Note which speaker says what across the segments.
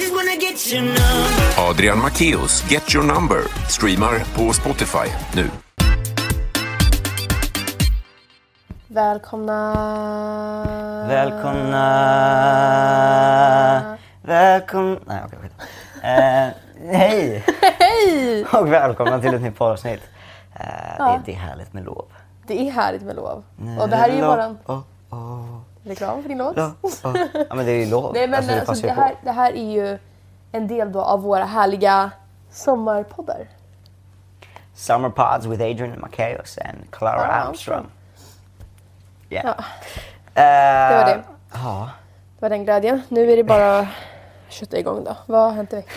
Speaker 1: just wanna get you now.
Speaker 2: Adrian Macchios Get Your Number streamar på Spotify nu.
Speaker 3: Välkomna!
Speaker 4: Välkomna! Välkomna... Nej, okej. skit. Eh, hej!
Speaker 3: Hej!
Speaker 4: Och välkomna till ett nytt poddavsnitt. Eh,
Speaker 3: Ja.
Speaker 4: det, det är härligt med lov.
Speaker 3: Det är härligt med lov. Och det här är ju våran
Speaker 4: Oh, oh,
Speaker 3: reklam för din låt.
Speaker 4: oh, oh. Ja, men det är ju lov.
Speaker 3: Nej men
Speaker 4: alltså, det
Speaker 3: alltså,
Speaker 4: passar
Speaker 3: det,
Speaker 4: ju
Speaker 3: här,
Speaker 4: på.
Speaker 3: det här är ju en del då av våra härliga sommarpoddar.
Speaker 4: Summer Pods with Adrian Macaeus and Clara
Speaker 3: Clara
Speaker 4: Armstrong.
Speaker 3: Ja,
Speaker 4: Yeah. det
Speaker 3: var det.
Speaker 4: Ja.
Speaker 3: det var den glädjen. Nu är det bara att kötta igång då. Vad har hänt i veckan?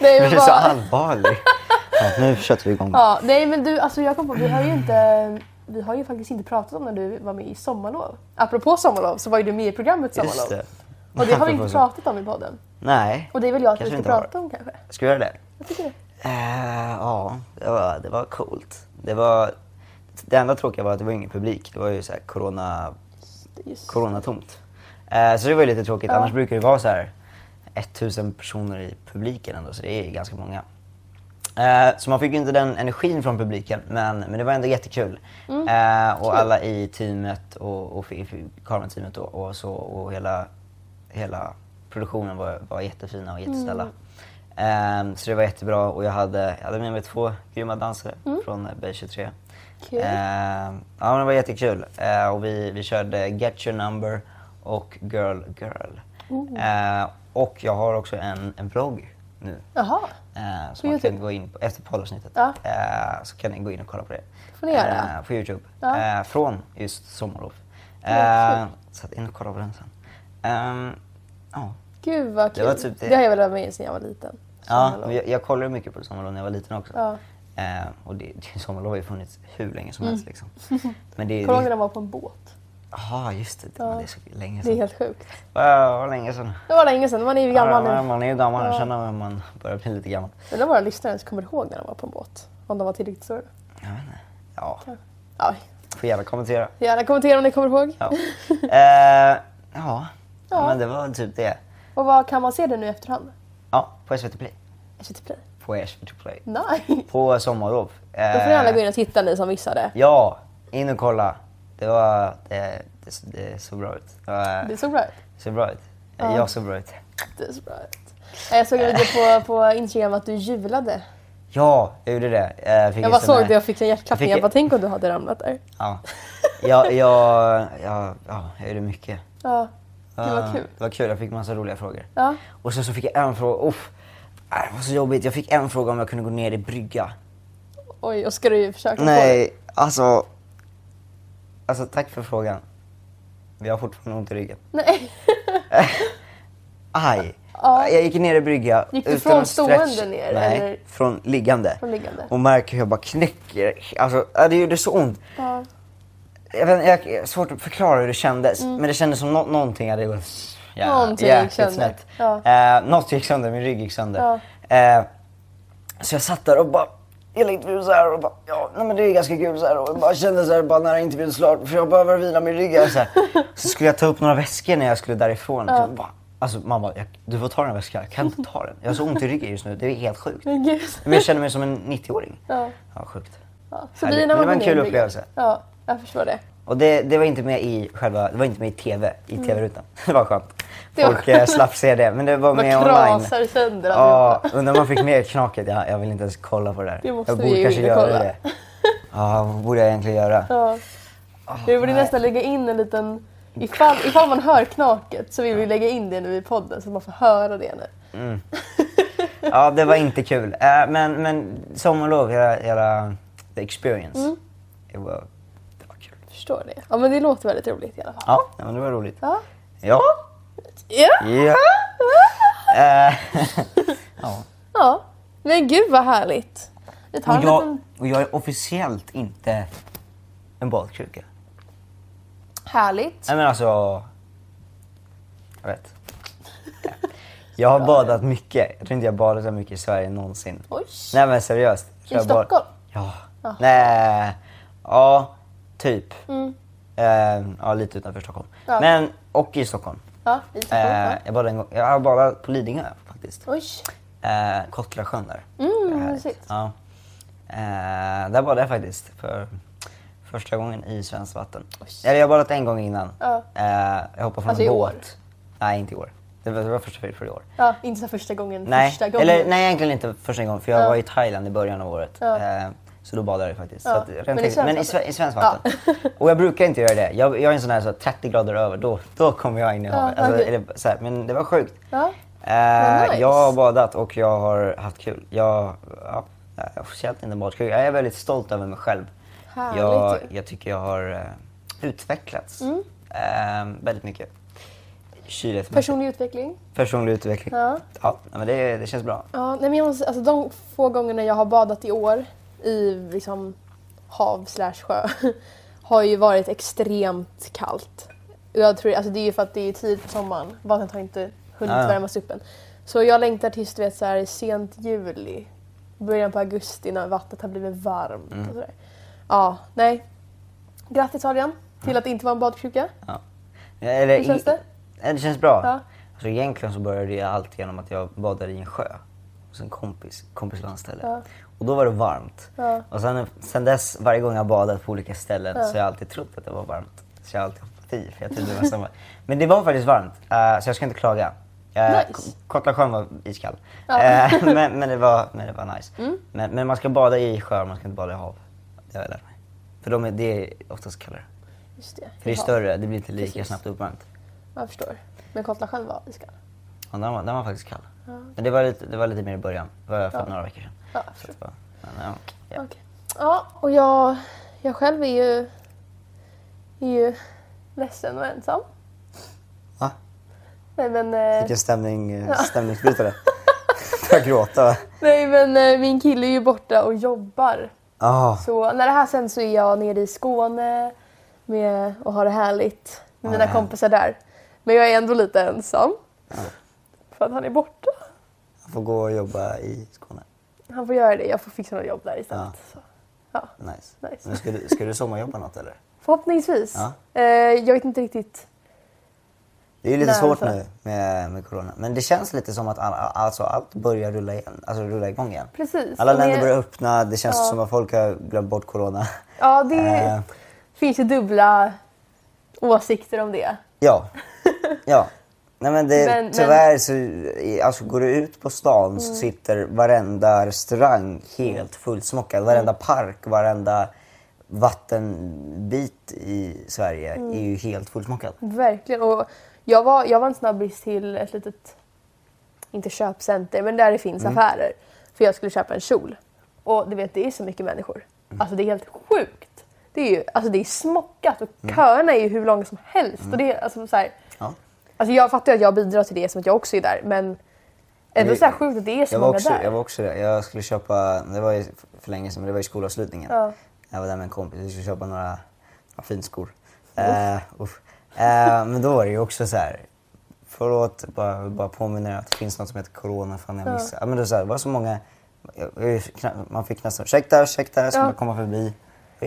Speaker 3: Nej,
Speaker 4: Men
Speaker 3: men
Speaker 4: du är så
Speaker 3: vad-
Speaker 4: allvarlig. Ja, nu köttar vi igång.
Speaker 3: Ja, nej men du, alltså jag kom på, vi har ju inte, vi har ju faktiskt inte pratat om när du var med i Sommarlov. Apropå Sommarlov så var ju du med i programmet Sommarlov.
Speaker 4: Just det.
Speaker 3: Och det har vi inte
Speaker 4: Apropå-
Speaker 3: pratat om i podden.
Speaker 4: Nej.
Speaker 3: Och det vill jag att
Speaker 4: Kanske
Speaker 3: vi
Speaker 4: inte
Speaker 3: ska
Speaker 4: har.
Speaker 3: prata om kanske.
Speaker 4: Ska vi göra det?
Speaker 3: Jag tycker det.
Speaker 4: Eh, ja, det var, det var coolt. Det, var, det enda tråkiga var att det var ingen publik. Det var ju så här corona,
Speaker 3: Just.
Speaker 4: coronatomt. Eh, så det var ju lite tråkigt. Annars brukar det vara så här 1000 personer i publiken ändå, så det är ju ganska många. Eh, så man fick ju inte den energin från publiken, men, men det var ändå jättekul. Eh, och alla i teamet och, och i kamerateamet och, och så och hela, hela produktionen var, var jättefina och jättesnälla. Eh, så det var jättebra och jag hade, jag hade med mig två grymma dansare från eh, B23.
Speaker 3: Kul.
Speaker 4: Eh, ja, men det var jättekul. Eh, och vi, vi körde Get Your Number och Girl Girl. Eh, och jag har också en, en vlogg nu.
Speaker 3: Jaha,
Speaker 4: Eh,
Speaker 3: På
Speaker 4: så man
Speaker 3: YouTube?
Speaker 4: kan gå in på, efter poddavsnittet
Speaker 3: Ja.
Speaker 4: eh, så kan ni gå in och kolla på det.
Speaker 3: får ni göra.
Speaker 4: Eh, på Youtube.
Speaker 3: Ja.
Speaker 4: Eh, från just Sommarlov.
Speaker 3: Ja,
Speaker 4: Eh, så att in och kolla på den sen. Ehm, ja.
Speaker 3: Gud vad kul.
Speaker 4: Det
Speaker 3: Det,
Speaker 4: var typ det.
Speaker 3: har jag velat vara med i sedan jag var liten.
Speaker 4: Ja,
Speaker 3: Sommarlov.
Speaker 4: men jag, jag kollade mycket på Sommarlov när jag var liten också.
Speaker 3: Ja.
Speaker 4: Eh, och det, det, Sommarlov har ju funnits hur länge som helst. Liksom. Men det,
Speaker 3: Kommer du ihåg
Speaker 4: det-
Speaker 3: när de var på en båt?
Speaker 4: Jaha, just det.
Speaker 3: Ja.
Speaker 4: Men det är så länge
Speaker 3: Det är
Speaker 4: sedan.
Speaker 3: helt sjukt.
Speaker 4: Wow, vad länge sedan.
Speaker 3: Det var länge sedan, man är ju
Speaker 4: Ja,
Speaker 3: gammal
Speaker 4: man,
Speaker 3: nu.
Speaker 4: man är ju gammal,
Speaker 3: Ja.
Speaker 4: jag känner att man börjar bli lite gammal.
Speaker 3: Undrar om våra lyssnare ens kommer ihåg när de var på en båt. Om de var tillräckligt stora.
Speaker 4: Ja,
Speaker 3: Ja,
Speaker 4: får gärna kommentera.
Speaker 3: gärna kommentera om ni kommer ihåg.
Speaker 4: Ja, eh, ja.
Speaker 3: Ja.
Speaker 4: men det var typ det.
Speaker 3: Och vad kan man se det nu i efterhand?
Speaker 4: Ja, på SVT Play.
Speaker 3: SVT Play.
Speaker 4: På SVT Play.
Speaker 3: Nej.
Speaker 4: På sommarlov. Eh,
Speaker 3: Då får ni alla gå in och titta ni som missade.
Speaker 4: Ja, in och kolla. Det var... Det, det, det såg bra ut. Det var,
Speaker 3: Det såg bra ut.
Speaker 4: såg bra ut.
Speaker 3: Ja.
Speaker 4: Jag såg bra ut.
Speaker 3: Det såg bra ut. Eh, Jag såg en video på, på Instagram att du jublade.
Speaker 4: Ja, jag gjorde det. Eh, fick
Speaker 3: Jag
Speaker 4: en
Speaker 3: bara
Speaker 4: sån
Speaker 3: såg
Speaker 4: här-
Speaker 3: det och fick en hjärtklappning. Jag
Speaker 4: Jag fick-
Speaker 3: bara tänk om du hade ramlat där.
Speaker 4: Ja, jag, jag, jag, ja, jag gjorde mycket.
Speaker 3: Ja, det var
Speaker 4: Ja, Ah.
Speaker 3: kul.
Speaker 4: Det var kul, jag fick massa roliga frågor.
Speaker 3: Ja.
Speaker 4: Och sen så fick jag en fråga, uff, äh, det var så jobbigt. Jag fick en fråga om jag kunde gå ner i brygga.
Speaker 3: Oj, och ska du försöka på
Speaker 4: Nej, alltså. Alltså tack för frågan. Vi har fortfarande ont i ryggen.
Speaker 3: det? Nej.
Speaker 4: Aj!
Speaker 3: Ja.
Speaker 4: Jag gick ner i brygga.
Speaker 3: Gick du
Speaker 4: utan
Speaker 3: från
Speaker 4: att
Speaker 3: stående
Speaker 4: stretch-
Speaker 3: ner,
Speaker 4: Nej,
Speaker 3: eller?
Speaker 4: från liggande.
Speaker 3: Från liggande.
Speaker 4: Och märker hur jag bara knäcker. Alltså, ja, det gjorde så ont.
Speaker 3: Ja.
Speaker 4: Jag vet, jag, jag har svårt att förklara hur det kändes, men det kändes som nå någonting hade gått jä-
Speaker 3: Mm. Någonting gick
Speaker 4: jäkligt
Speaker 3: sönder.
Speaker 4: snett.
Speaker 3: Ja.
Speaker 4: Eh, något gick sönder, min rygg gick sönder. Eh, så jag satt där och bara, hela intervjun så här och bara, ja, nej, men det är ganska kul så här. Och jag bara kände så här, bara när intervjun är slut, för jag behöver vila min rygg. här, Så, här. så skulle jag ta upp några väskor när jag skulle därifrån. Så bara, alltså mamma, jag, du får ta den här väskan, jag kan inte ta den. Jag har så ont i ryggen just nu, det är helt sjukt.
Speaker 3: Men gud.
Speaker 4: Men jag känner mig som en 90-åring.
Speaker 3: Ja.
Speaker 4: ja sjukt.
Speaker 3: Ja. Så
Speaker 4: Härligt.
Speaker 3: blir när man
Speaker 4: Men det
Speaker 3: går ner i
Speaker 4: var en kul
Speaker 3: bryggan.
Speaker 4: upplevelse.
Speaker 3: Ja, jag förstår det.
Speaker 4: Och det, det var inte med i själva, det var inte med i TV, i TV-rutan. Det var skönt.
Speaker 3: Mm. Det var
Speaker 4: Folk eh, slapp se det, men det var
Speaker 3: Man
Speaker 4: med online.
Speaker 3: krasar sönder
Speaker 4: Ja,
Speaker 3: allihopa.
Speaker 4: undrar om man fick med knaket. Jag, jag vill inte ens kolla på det där.
Speaker 3: Det måste
Speaker 4: jag borde
Speaker 3: vi ju
Speaker 4: kanske
Speaker 3: inte
Speaker 4: göra
Speaker 3: kolla.
Speaker 4: det. Ja, vad borde jag egentligen göra?
Speaker 3: Ja. Vi borde
Speaker 4: nej.
Speaker 3: nästan lägga in en liten... Ifall, ifall man hör knaket så vill vi lägga in det nu i podden så att man får höra det nu.
Speaker 4: Ja, det var inte kul. Eh, men, men sommarlov, hela, hela the experience.
Speaker 3: Mm.
Speaker 4: Det, var, det var kul.
Speaker 3: Förstår det. Ja men det låter väldigt roligt i alla fall.
Speaker 4: Ja, Mm. ja, men det var roligt.
Speaker 3: Ja.
Speaker 4: Ja.
Speaker 3: Ja.
Speaker 4: Ja. Eh, ja.
Speaker 3: ja. Men gud vad härligt. Vi tar
Speaker 4: Och
Speaker 3: en
Speaker 4: jag,
Speaker 3: liten...
Speaker 4: och jag är officiellt inte en badkruka.
Speaker 3: Härligt.
Speaker 4: Nej men alltså... Jag vet. Jag har badat mycket. Jag tror inte jag badat så mycket i Sverige någonsin.
Speaker 3: Oj.
Speaker 4: Nej men seriöst.
Speaker 3: I
Speaker 4: Jag bad-
Speaker 3: Stockholm?
Speaker 4: Ja. Nej. Ja, typ. Eh, ja, lite utanför Stockholm.
Speaker 3: Mm. Ja.
Speaker 4: Men, och i Stockholm.
Speaker 3: Ja, i Stockholm.
Speaker 4: Eh,
Speaker 3: ja.
Speaker 4: jag badade en gång, jag har badat på Lidingö faktiskt.
Speaker 3: Oj.
Speaker 4: Eh, Kottlasjön där.
Speaker 3: Mm,
Speaker 4: Det är härligt.
Speaker 3: mysigt.
Speaker 4: Ja. Eh, där badade jag faktiskt för första gången i svenskt vatten. Eller jag har badat en gång innan.
Speaker 3: Ja.
Speaker 4: Eh, jag hoppade från
Speaker 3: Alltså i
Speaker 4: en
Speaker 3: år?
Speaker 4: båt. Nej, inte i år. Det var, det var första för i år.
Speaker 3: Ja, inte så här första gången.
Speaker 4: Nej,
Speaker 3: Första gången.
Speaker 4: Eller, nej, egentligen inte första gången för jag
Speaker 3: Ja.
Speaker 4: var i Thailand i början av året.
Speaker 3: Ja.
Speaker 4: Eh, så då badade jag faktiskt.
Speaker 3: Ja.
Speaker 4: Så att, rent
Speaker 3: Men i
Speaker 4: tekniskt-
Speaker 3: svenskt
Speaker 4: men i, sve,
Speaker 3: vatten?
Speaker 4: i svenskt vatten. Och jag brukar inte göra det. Jag, jag är en sån här så att 30 grader över, då, då kommer jag in i
Speaker 3: Ja,
Speaker 4: havet. Alltså,
Speaker 3: okej.
Speaker 4: är det, så här, men det var sjukt.
Speaker 3: Ja.
Speaker 4: Eh,
Speaker 3: nice.
Speaker 4: Jag har badat och jag har haft kul. Jag, ja, jag har officiellt inte badat kul. Jag är väldigt stolt över mig själv.
Speaker 3: Härligt
Speaker 4: Jag,
Speaker 3: ju. Mm.
Speaker 4: jag tycker jag har eh, utvecklats eh, väldigt mycket. Kyligt.
Speaker 3: Personlig utveckling.
Speaker 4: Personlig utveckling.
Speaker 3: Ja.
Speaker 4: ja men det, det känns bra.
Speaker 3: Ja, nej men jag måste, alltså de få gångerna jag har badat i år i liksom hav slash sjö har ju varit extremt kallt. Och Jag tror, alltså det är ju för att det är tidigt på sommaren. Vattnet har inte hunnit
Speaker 4: Ah, Ja, ja.
Speaker 3: värmas upp än. Så jag längtar tills du vet så här, sent juli, början på augusti när vattnet har blivit varmt.
Speaker 4: Mm.
Speaker 3: Och sådär. Ja, nej. Grattis Adrian
Speaker 4: Mm.
Speaker 3: till att det inte var en badkruka.
Speaker 4: Ja. Eller,
Speaker 3: Hur känns det?
Speaker 4: Ja, det känns bra.
Speaker 3: Ja.
Speaker 4: Alltså, egentligen så började jag allt genom att jag badade i en sjö hos en kompis, kompis landställe.
Speaker 3: Ja.
Speaker 4: Och då var det varmt.
Speaker 3: Ja.
Speaker 4: Och sen, sen dess, varje gång jag har badat på olika ställen så har jag alltid trott att det var varmt. Så jag har alltid hoppat i, för jag trodde det var samma. Men det var faktiskt varmt, eh, så jag ska inte klaga. Uh,
Speaker 3: Nice.
Speaker 4: Kottlasjön var iskall.
Speaker 3: Ja. Mm.
Speaker 4: Eh, men, men, det var, men det var nice. Men, men man ska bada i sjöar, man ska inte bada i hav. Det har jag lärt mig. För de är, det är oftast kallare.
Speaker 3: Just det.
Speaker 4: För det är
Speaker 3: Ja,
Speaker 4: större, det blir inte lika
Speaker 3: Precis.
Speaker 4: snabbt uppvärmt.
Speaker 3: Jag förstår. Men Kotlashön var iskall.
Speaker 4: Ja, den, var, den var faktiskt kall. Men det var, lite, det var lite mer i början. Det var för
Speaker 3: Ja.
Speaker 4: några veckor sedan.
Speaker 3: Ja,
Speaker 4: Så
Speaker 3: förstår.
Speaker 4: det var, men, ja.
Speaker 3: Okej. Ja, och jag, jag själv är ju, är ju ledsen och ensam.
Speaker 4: Va?
Speaker 3: Nej men, eh,
Speaker 4: Vilken stämning, stämningsbrytare. Börjar gråta.
Speaker 3: nej, men eh, min kille är ju borta och jobbar.
Speaker 4: Oh.
Speaker 3: Så när det här sen så är jag nere i Skåne med, och har det härligt med
Speaker 4: Ja,
Speaker 3: mina
Speaker 4: det är
Speaker 3: kompisar där. Men jag är ändå lite ensam. För att han är borta.
Speaker 4: Jag får gå och jobba i Skåne.
Speaker 3: Han får göra det, jag får fixa något jobb där istället.
Speaker 4: Ja.
Speaker 3: Så, ja.
Speaker 4: Nice.
Speaker 3: Nice.
Speaker 4: Men ska, du, ska du sommarjobba något eller?
Speaker 3: Förhoppningsvis.
Speaker 4: Ja.
Speaker 3: Eh, jag vet inte riktigt
Speaker 4: Det är ju lite
Speaker 3: Nej,
Speaker 4: svårt
Speaker 3: alltså.
Speaker 4: nu med, med corona. Men det känns lite som att all, all- alltså allt börjar rulla, igen, alltså rulla igång igen.
Speaker 3: precis.
Speaker 4: Alla
Speaker 3: om det-
Speaker 4: länder börjar öppna, det känns
Speaker 3: Ja.
Speaker 4: som att folk har glömt bort corona.
Speaker 3: Ja, det
Speaker 4: Eh.
Speaker 3: finns ju dubbla åsikter om det.
Speaker 4: Ja. ja. Nej, men det,
Speaker 3: Men- Mm. men-
Speaker 4: tyvärr så i- alltså, går du ut på stan så sitter varenda restaurang helt fullsmockad.
Speaker 3: Mm.
Speaker 4: Varenda park, varenda vattenbit i Sverige
Speaker 3: Mm.
Speaker 4: är ju helt fullsmockad.
Speaker 3: Verkligen. Och jag, var, jag var en snabbis till ett litet, inte köpcenter, men där det finns
Speaker 4: Mm.
Speaker 3: affärer. För jag skulle köpa en kjol. Och du vet, det är så mycket människor.
Speaker 4: Mm.
Speaker 3: Alltså det är helt sjukt. Det är ju alltså, det är smockat och
Speaker 4: Mm.
Speaker 3: köerna är ju hur långa som helst. Och det är, alltså, så här,
Speaker 4: Ja.
Speaker 3: alltså, jag fattar ju att jag bidrar till det som att jag också är där, men ändå
Speaker 4: Det-
Speaker 3: så här sjukt att det är så
Speaker 4: Jag var,
Speaker 3: många
Speaker 4: också,
Speaker 3: där.
Speaker 4: jag var också det. Jag skulle köpa, det var ju för länge sedan, men det var ju skolavslutningen.
Speaker 3: Ja.
Speaker 4: Jag var där med en kompis, vi skulle köpa några, några finskor. Eh, uff. Eh, men då var det ju också så här. förlåt, bara, bara påminner er att det finns något som heter corona, fan jag missade. Ja. men det, var så här, det var så många, jag- jag- knappt- man fick nästan ursäkta, ursäkta, ska
Speaker 3: Ja.
Speaker 4: man komma förbi? Det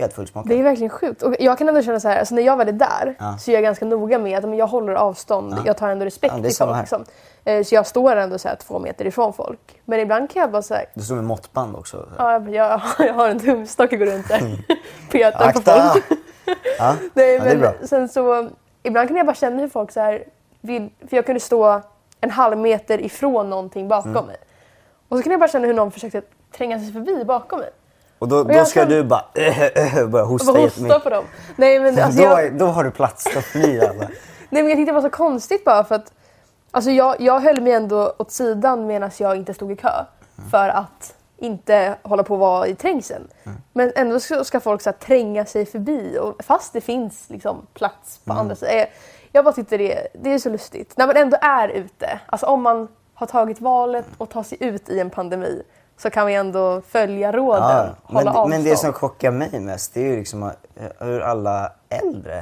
Speaker 4: var helt fullsmockat.
Speaker 3: Det är verkligen sjukt. Och jag kan ändå känna så här, alltså när jag väl är där
Speaker 4: Ja.
Speaker 3: så är jag ganska noga med att men jag håller avstånd.
Speaker 4: Ja.
Speaker 3: Jag tar ändå respekt
Speaker 4: Ja, det är
Speaker 3: till
Speaker 4: samma
Speaker 3: folk.
Speaker 4: här.
Speaker 3: Liksom. Eh, Så jag står ändå så här två meter ifrån folk. Men ibland kan jag bara säga
Speaker 4: Du stod med måttband också. Så här.
Speaker 3: ja, jag, jag, jag har en tumstock och går runt där petar på
Speaker 4: Mm. Akta!
Speaker 3: folk.
Speaker 4: ja.
Speaker 3: Nej,
Speaker 4: ja, det är
Speaker 3: men
Speaker 4: bra.
Speaker 3: sen så, ibland kan jag bara känna hur folk så här vill, för jag kunde stå en halv meter ifrån någonting bakom
Speaker 4: Mm.
Speaker 3: mig. Och så kan jag bara känna hur någon försökte tränga sig förbi bakom mig.
Speaker 4: Och då, då
Speaker 3: jag
Speaker 4: ska
Speaker 3: kan-
Speaker 4: du bara, börja hosta
Speaker 3: Och bara
Speaker 4: jättemycket.
Speaker 3: hosta på dem. Nej, men, alltså,
Speaker 4: då,
Speaker 3: jag-
Speaker 4: då har du plats att fly alla.
Speaker 3: Nej men jag tyckte det var så konstigt bara för att alltså jag, jag höll mig ändå åt sidan medan jag inte stod i kö för att inte hålla på att vara i trängseln.
Speaker 4: Mm.
Speaker 3: Men ändå så ska folk så här, tränga sig förbi och, fast det finns liksom, plats på
Speaker 4: Mm.
Speaker 3: andra sidan. Eh, Jag bara tyckte det, det är så lustigt. När man ändå är ute, alltså om man har tagit valet och tar sig ut i en pandemi så kan vi ändå följa råden,
Speaker 4: Ja,
Speaker 3: hålla
Speaker 4: men,
Speaker 3: avstånd.
Speaker 4: men det som chockar mig mest det är ju liksom att, eh, hur alla äldre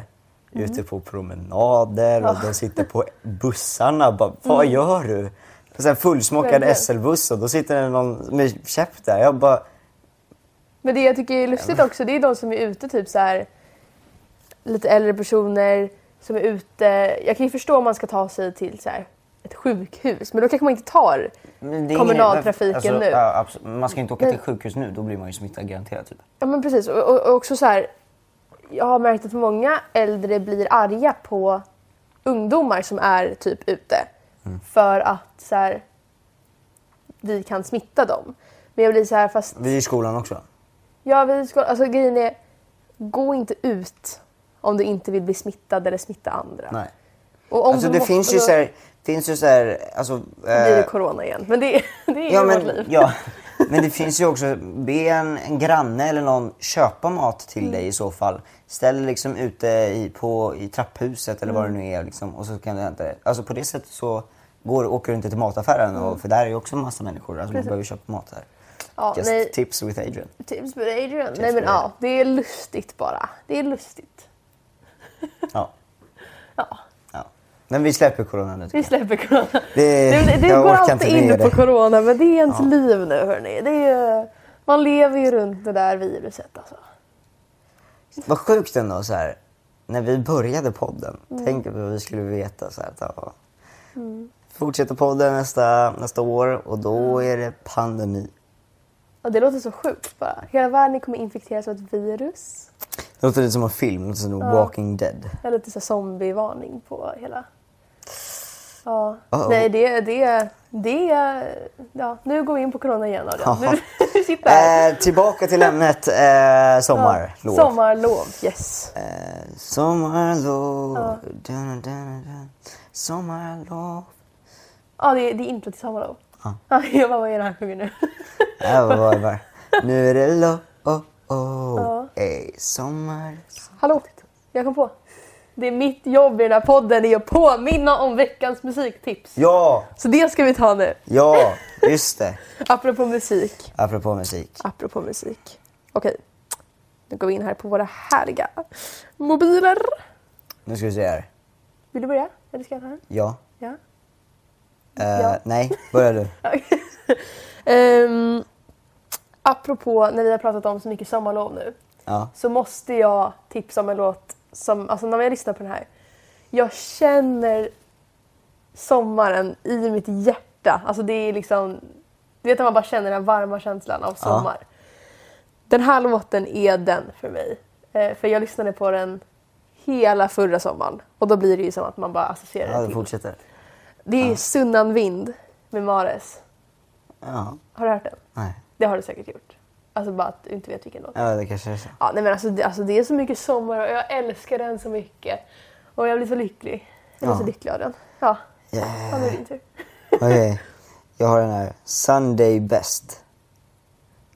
Speaker 4: är ute på promenader och de sitter på bussarna. Bara, Vad gör du? Och sen fullsmockad
Speaker 3: Verkligen.
Speaker 4: SL-buss och då sitter det någon med käpp där. Jag bara,
Speaker 3: Men det jag tycker är lustigt också det är de som är ute typ så här lite äldre personer som är ute. Jag kan ju förstå om man ska ta sig till så här, ett sjukhus men då kanske man inte tar
Speaker 4: Men det är alltså,
Speaker 3: Kommunaltrafiken nu.
Speaker 4: Ja, absolut. man ska inte åka till
Speaker 3: Men-
Speaker 4: sjukhus nu, då blir man ju smittad garanterat. Typ.
Speaker 3: Ja men precis. Och, och, och också så här, jag har märkt att många äldre blir arga på ungdomar som är typ ute.
Speaker 4: Mm.
Speaker 3: För att så här, vi kan smitta dem. Men jag blir så här, fast
Speaker 4: Vi är i skolan också.
Speaker 3: ja, vi ska, alltså, grejen är, gå inte ut om du inte vill bli smittad eller smitta andra.
Speaker 4: Nej.
Speaker 3: Och om
Speaker 4: Alltså
Speaker 3: du
Speaker 4: det
Speaker 3: måste,
Speaker 4: finns ju
Speaker 3: då
Speaker 4: så här, finns ju så här, alltså...
Speaker 3: blir det
Speaker 4: eh,
Speaker 3: corona igen. Men det, det är
Speaker 4: ja,
Speaker 3: ju
Speaker 4: men,
Speaker 3: vårt liv.
Speaker 4: ja, men det finns ju också, be en, en granne eller någon köpa mat till dig
Speaker 3: Mm.
Speaker 4: i så fall. Ställ liksom ute i, på, i trapphuset eller
Speaker 3: Mm.
Speaker 4: vad det nu är liksom, och så kan du hämta det. Alltså på det sättet så går, åker du inte till mataffären och, för där är ju också en massa människor. Alltså man behöver köpa mat där.
Speaker 3: Mm. Ja,
Speaker 4: Just
Speaker 3: nej.
Speaker 4: tips with Adrian.
Speaker 3: Tips med
Speaker 4: Typ
Speaker 3: Adrian. Nej men
Speaker 4: med Adrian.
Speaker 3: ja, det är lustigt bara. Det är lustigt.
Speaker 4: Ja.
Speaker 3: Ja.
Speaker 4: ja. Men vi släpper corona nu.
Speaker 3: Vi släpper corona.
Speaker 4: Det-
Speaker 3: det det
Speaker 4: jag
Speaker 3: går
Speaker 4: orkar
Speaker 3: alltid
Speaker 4: inte med
Speaker 3: in
Speaker 4: det.
Speaker 3: på corona men det är ens liv nu hörni. Det är, ju- man lever ju runt det där viruset alltså.
Speaker 4: Vad sjukt ändå så här. när vi började podden. Tänk på vad vi skulle veta så här, att ja. Fortsätter podden nästa, nästa år och då är det pandemi.
Speaker 3: Och det låter så sjukt bara. Hela världen kommer infekteras av ett virus.
Speaker 4: Det låter lite som en film, det låter som Walking Dead.
Speaker 3: Det är lite så här zombievarning på hela. Ja.
Speaker 4: Uh-oh.
Speaker 3: Nej det, det, det, ja nu går vi in på corona igen Adrian.
Speaker 4: Ja.
Speaker 3: Nu sitter här.
Speaker 4: Eh, tillbaka till ämnet eh, sommarlov.
Speaker 3: Sommarlov, yes.
Speaker 4: Eh, sommarlov. Dun, dun, dun, dun. Sommarlov.
Speaker 3: Ja, det, är- det är intro till Sommarlov.
Speaker 4: Ja.
Speaker 3: jag bara, vad är det han sjunger nu?
Speaker 4: Äh, vad var det bara? Nu är det lov. Oh, oh.
Speaker 3: Ja.
Speaker 4: Ey, sommar.
Speaker 3: Hallå, jag kom på. Det är mitt jobb i den här podden är att påminna om veckans musiktips.
Speaker 4: Ja,
Speaker 3: Så det ska vi ta nu.
Speaker 4: ja, just det.
Speaker 3: Apropå musik.
Speaker 4: Apropå musik.
Speaker 3: Apropå musik. Okej, nu går vi in här på våra härliga mobiler.
Speaker 4: Nu ska vi se här.
Speaker 3: Vill du börja? Eller ska jag ta den?
Speaker 4: Ja.
Speaker 3: Ja.
Speaker 4: Eh,
Speaker 3: Ja.
Speaker 4: Nej, börja du.
Speaker 3: um, apropå när vi har pratat om så mycket sommarlov nu.
Speaker 4: Ja.
Speaker 3: så måste jag tipsa om en låt som, alltså när jag lyssnar på den här, jag känner sommaren i mitt hjärta. Alltså det är liksom, du vet när man bara känner den varma känslan av sommar. Den här låten är den för mig. Eh, för jag lyssnade på den hela förra sommaren och då blir det ju som att man bara associerar
Speaker 4: ja,
Speaker 3: den
Speaker 4: du
Speaker 3: till.
Speaker 4: fortsätter.
Speaker 3: Det är Sunnan Vind med Mares.
Speaker 4: Ja.
Speaker 3: Har du hört den?
Speaker 4: Nej.
Speaker 3: Det har du säkert gjort. Alltså bara att du inte vet vilken låt.
Speaker 4: Ja, det kanske är så.
Speaker 3: Ja, nej men alltså, det, alltså det är så mycket sommar och jag älskar den så mycket. Och jag blir så lycklig. Jag blir
Speaker 4: Ja. Eh.
Speaker 3: så lycklig av den. Ja, ja
Speaker 4: Yeah.
Speaker 3: nu är det din tur.
Speaker 4: Okej. Jag har den här. Sunday best.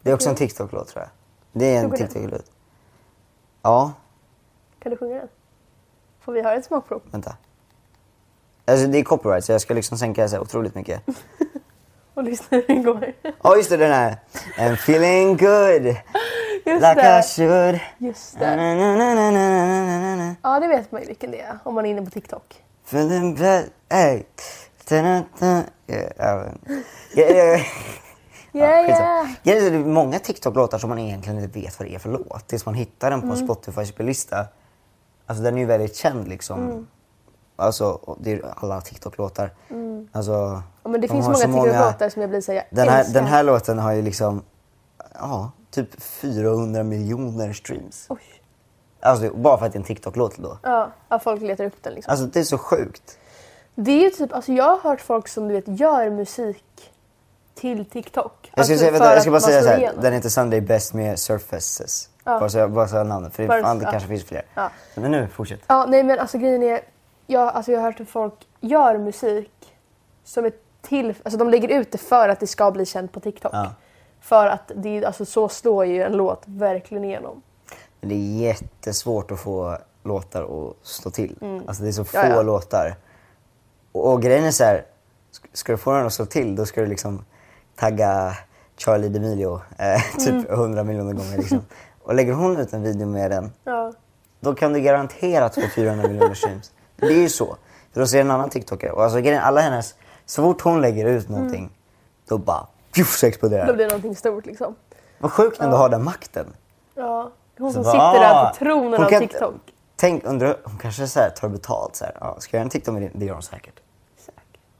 Speaker 4: Det är också en TikTok-låt tror jag. Det är en
Speaker 3: Tror du det?
Speaker 4: TikTok-låt. Ja,
Speaker 3: Kan du sjunga den? Får vi höra ett smakprov?
Speaker 4: vänta. Alltså det är copyright så jag ska liksom sänka så här otroligt mycket.
Speaker 3: Och lyssna hur den går.
Speaker 4: Ja just det, den här. I'm feeling good,
Speaker 3: Just
Speaker 4: like I
Speaker 3: det.
Speaker 4: should.
Speaker 3: Just
Speaker 4: Na,
Speaker 3: det.
Speaker 4: na, na, na, na, na, na, na.
Speaker 3: Ja, det vet man ju vilken det är om man är inne på TikTok.
Speaker 4: Feeling bad, ey. Ta-da-da. Ja, ja, men- Ja, ja, ja.
Speaker 3: Yeah,
Speaker 4: Skitsamma.
Speaker 3: yeah!
Speaker 4: Ja, det är många TikTok-låtar som man egentligen inte vet vad det är för låt tills man hittar den på
Speaker 3: Mm.
Speaker 4: en Spotify-spellista. Alltså den är ju väldigt känd liksom.
Speaker 3: Mm.
Speaker 4: Alltså, och det är ju alla TikTok-låtar. Alltså,
Speaker 3: Mm. Ja, men det
Speaker 4: de
Speaker 3: finns
Speaker 4: har
Speaker 3: många
Speaker 4: så
Speaker 3: TikTok-låtar som jag blir så här, jag
Speaker 4: Den här,
Speaker 3: älskar.
Speaker 4: den här låten har ju liksom, ja, typ 400 miljoner streams.
Speaker 3: Oj.
Speaker 4: Alltså bara för att det är en TikTok-låt då.
Speaker 3: Ja, ja, folk letar upp den liksom.
Speaker 4: Alltså det är så sjukt.
Speaker 3: Det är ju typ, alltså jag har hört folk som du vet gör musik till TikTok.
Speaker 4: Jag ska,
Speaker 3: alltså,
Speaker 4: säga,
Speaker 3: för
Speaker 4: vänta, jag
Speaker 3: att
Speaker 4: ska bara
Speaker 3: man
Speaker 4: säga
Speaker 3: slår
Speaker 4: så här,
Speaker 3: igenom.
Speaker 4: den heter Sunday Best med Surfaces. Bara så jag bara så jag namnet, för det,
Speaker 3: Bara-
Speaker 4: fan, det
Speaker 3: ja.
Speaker 4: kanske finns fler.
Speaker 3: Ja.
Speaker 4: Men nu, fortsätt.
Speaker 3: Ja, nej men alltså grejen är, jag, alltså, jag har hört att folk gör musik som är till, alltså de lägger ut det för att det ska bli känt på TikTok.
Speaker 4: Ja.
Speaker 3: För att det, är- alltså, så slår ju en låt verkligen igenom.
Speaker 4: Men det är jättesvårt att få låtar att slå till. Alltså det är så få
Speaker 3: Mm. Ja, ja.
Speaker 4: låtar. Och, och grejen är så här, sk- ska du få den att slå till då ska du liksom tagga Charlie D'Amelio eh, typ
Speaker 3: Mm.
Speaker 4: 100 miljoner gånger. Liksom. Och lägger hon ut en video med den,
Speaker 3: Ja.
Speaker 4: då kan du garanterat få 400 miljoner streams. Det är ju så. För då ser en annan TikTokare, och alltså grejen är, alla hennes, så fort hon lägger ut någonting, då bara pjuff, så
Speaker 3: Då
Speaker 4: exploderar det.
Speaker 3: blir det någonting stort liksom.
Speaker 4: Vad sjukt när du har den makten.
Speaker 3: Ja. Hon som
Speaker 4: Så bara,
Speaker 3: sitter där
Speaker 4: ah,
Speaker 3: på tronen
Speaker 4: hon
Speaker 3: av
Speaker 4: kan-
Speaker 3: TikTok.
Speaker 4: Tänk, undrar, hon kanske så här tar betalt. Så här. Ja, ska jag göra en TikTok med det? Det gör hon säkert.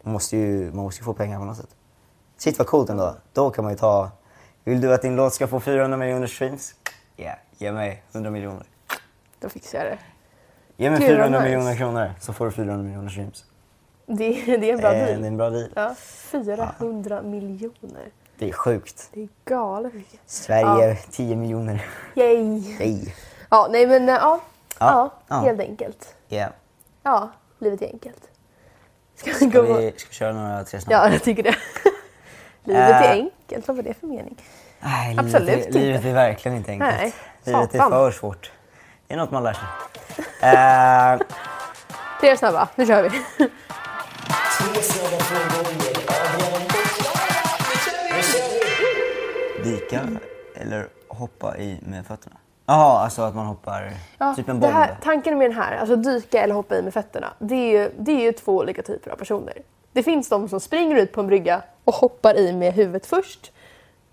Speaker 4: Man måste ju, man måste ju få pengar på något sätt. Shit vad coolt ändå. Då kan man ju ta... Vill du att din låt ska få 400 miljoner streams? Ja, ge mig 100 miljoner.
Speaker 3: Då fixar jag det.
Speaker 4: Ge mig
Speaker 3: Gud, vad
Speaker 4: 400
Speaker 3: nice.
Speaker 4: miljoner kronor så får du 400 miljoner streams.
Speaker 3: Det, det är en bra
Speaker 4: Eh, Ah. Det är
Speaker 3: deal.
Speaker 4: en bra deal.
Speaker 3: Ja, 400 miljoner.
Speaker 4: Det är sjukt.
Speaker 3: Det är galet mycket.
Speaker 4: Sverige, 10 miljoner.
Speaker 3: Yay!
Speaker 4: Nej.
Speaker 3: Ja, nej men eh, ja. Ja,
Speaker 4: ja.
Speaker 3: helt enkelt.
Speaker 4: Yeah.
Speaker 3: Ja, livet är enkelt. Ska vi
Speaker 4: Ska
Speaker 3: gå
Speaker 4: vi, ska vi köra några tre snabba?
Speaker 3: Ja, jag tycker det. livet
Speaker 4: Eh.
Speaker 3: är enkelt, vad var det för mening?
Speaker 4: Nej,
Speaker 3: Absolut
Speaker 4: livet, är-
Speaker 3: inte.
Speaker 4: Livet är verkligen inte enkelt.
Speaker 3: Nej,
Speaker 4: livet är
Speaker 3: satan.
Speaker 4: för svårt. Det är något man lär sig. Eh,
Speaker 3: Tre snabba, nu kör vi.
Speaker 4: dika eller hoppa i med fötterna? Jaha, alltså att man hoppar
Speaker 3: Ja,
Speaker 4: typ en
Speaker 3: det
Speaker 4: bomb.
Speaker 3: här, tanken med den här, alltså dyka eller hoppa i med fötterna, det är, ju, det är ju två olika typer av personer. Det finns de som springer ut på en brygga och hoppar i med huvudet först.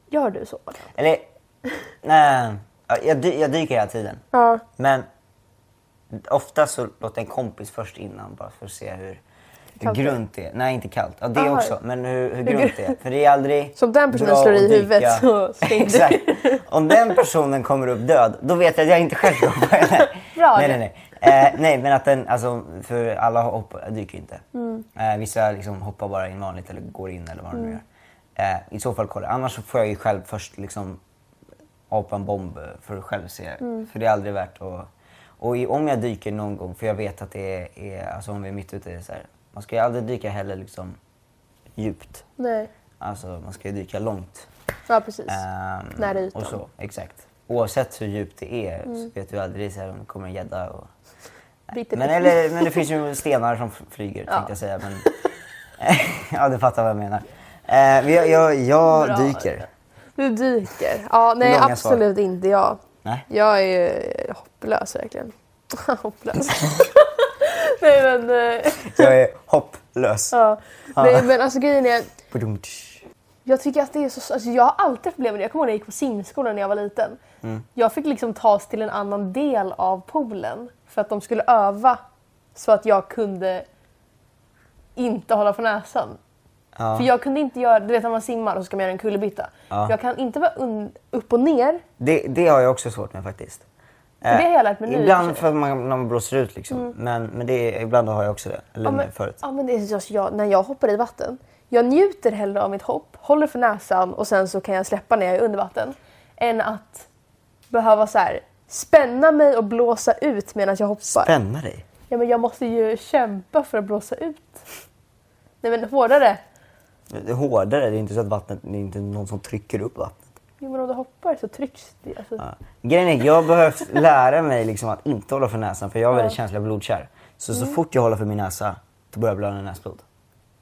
Speaker 3: Gör du så?
Speaker 4: Eller, nej, ja, jag, dy- jag dyker hela tiden.
Speaker 3: Ja.
Speaker 4: Men ofta så låter en kompis först innan bara för att se hur, hur
Speaker 3: kallt det är.
Speaker 4: grunt det är. Nej, inte kallt. Ja, det
Speaker 3: Aha.
Speaker 4: också. Men hur, hur grunt det är. För det är aldrig
Speaker 3: Så om den personen
Speaker 4: bra
Speaker 3: slår
Speaker 4: att
Speaker 3: i
Speaker 4: dyka.
Speaker 3: huvudet så släng du.
Speaker 4: Exakt. Om den personen kommer upp död, då vet jag att jag inte själv ska hoppa i den.
Speaker 3: Bra.
Speaker 4: Nej, nej, nej. Eh, nej, men att den, alltså, för alla hopp, dyker inte. Eh, vissa liksom hoppar bara in vanligt eller går in eller vad de nu gör. Eh, I så fall kollar jag. Annars så får jag ju själv först liksom hoppa en bomb eh, för att själv se. För det är aldrig värt att... Och i- om jag dyker någon gång, för jag vet att det är, är alltså om vi är mitt ute i det så här. Man ska ju aldrig dyka heller liksom djupt.
Speaker 3: Nej.
Speaker 4: Alltså man ska ju dyka långt.
Speaker 3: Ja, precis.
Speaker 4: Ehm,
Speaker 3: Nära ytan. Mm.
Speaker 4: Och så, exakt. Oavsett hur djupt det är så vet du aldrig så här, om det kommer en gädda och...
Speaker 3: Biter
Speaker 4: Men,
Speaker 3: dig.
Speaker 4: eller, men det finns ju stenar som f- flyger
Speaker 3: Ja.
Speaker 4: tänkte jag säga. Men... ja, du fattar vad jag menar. Eh, men jag jag,
Speaker 3: Bra.
Speaker 4: jag dyker.
Speaker 3: Du dyker. Ja, nej
Speaker 4: Långa svar.
Speaker 3: absolut inte jag.
Speaker 4: Nej.
Speaker 3: Jag är ju hopplös verkligen. hopplös. nej men... eh,
Speaker 4: Jag är hopplös.
Speaker 3: Ja. Nej men alltså grejen är,
Speaker 4: Badumtsch.
Speaker 3: jag tycker att det är så... Alltså, jag har alltid haft problem med det. Jag kommer ihåg när jag gick på simskolan när jag var liten.
Speaker 4: Mm.
Speaker 3: Jag fick liksom tas till en annan del av poolen för att de skulle öva så att jag kunde inte hålla på näsan.
Speaker 4: Ja.
Speaker 3: För jag kunde inte göra, du vet när man simmar och så ska man göra en kullerbytta.
Speaker 4: Ja.
Speaker 3: Jag kan inte vara un- upp och ner
Speaker 4: Det, det har jag också svårt med faktiskt.
Speaker 3: det har jag lärt mig nu, i och för
Speaker 4: Ibland
Speaker 3: sig. Mm.
Speaker 4: för att man, när man blåser ut liksom. Men, men det, är- ibland har jag också det. Eller
Speaker 3: Ja, men,
Speaker 4: förut.
Speaker 3: ja, men det är just jag, när jag hoppar i vatten. Jag njuter hellre av mitt hopp, håller för näsan och sen så kan jag släppa när jag är under vatten. Än att behöva så här, spänna mig och blåsa ut medan jag hoppar.
Speaker 4: Spänna dig.
Speaker 3: Ja, men jag måste ju kämpa för att blåsa ut. Nej men hårdare.
Speaker 4: Det är hårdare. Det är inte så att vattnet, det är inte någon som trycker upp vattnet.
Speaker 3: Jo, men om du hoppar så trycks det. Alltså,
Speaker 4: Ja. Grejen är, jag har behövt lära mig liksom att inte hålla för näsan för jag är väldigt känslig av blodkärl. Så
Speaker 3: Mm.
Speaker 4: så fort jag håller för min näsa, då börjar jag blöda näsblod.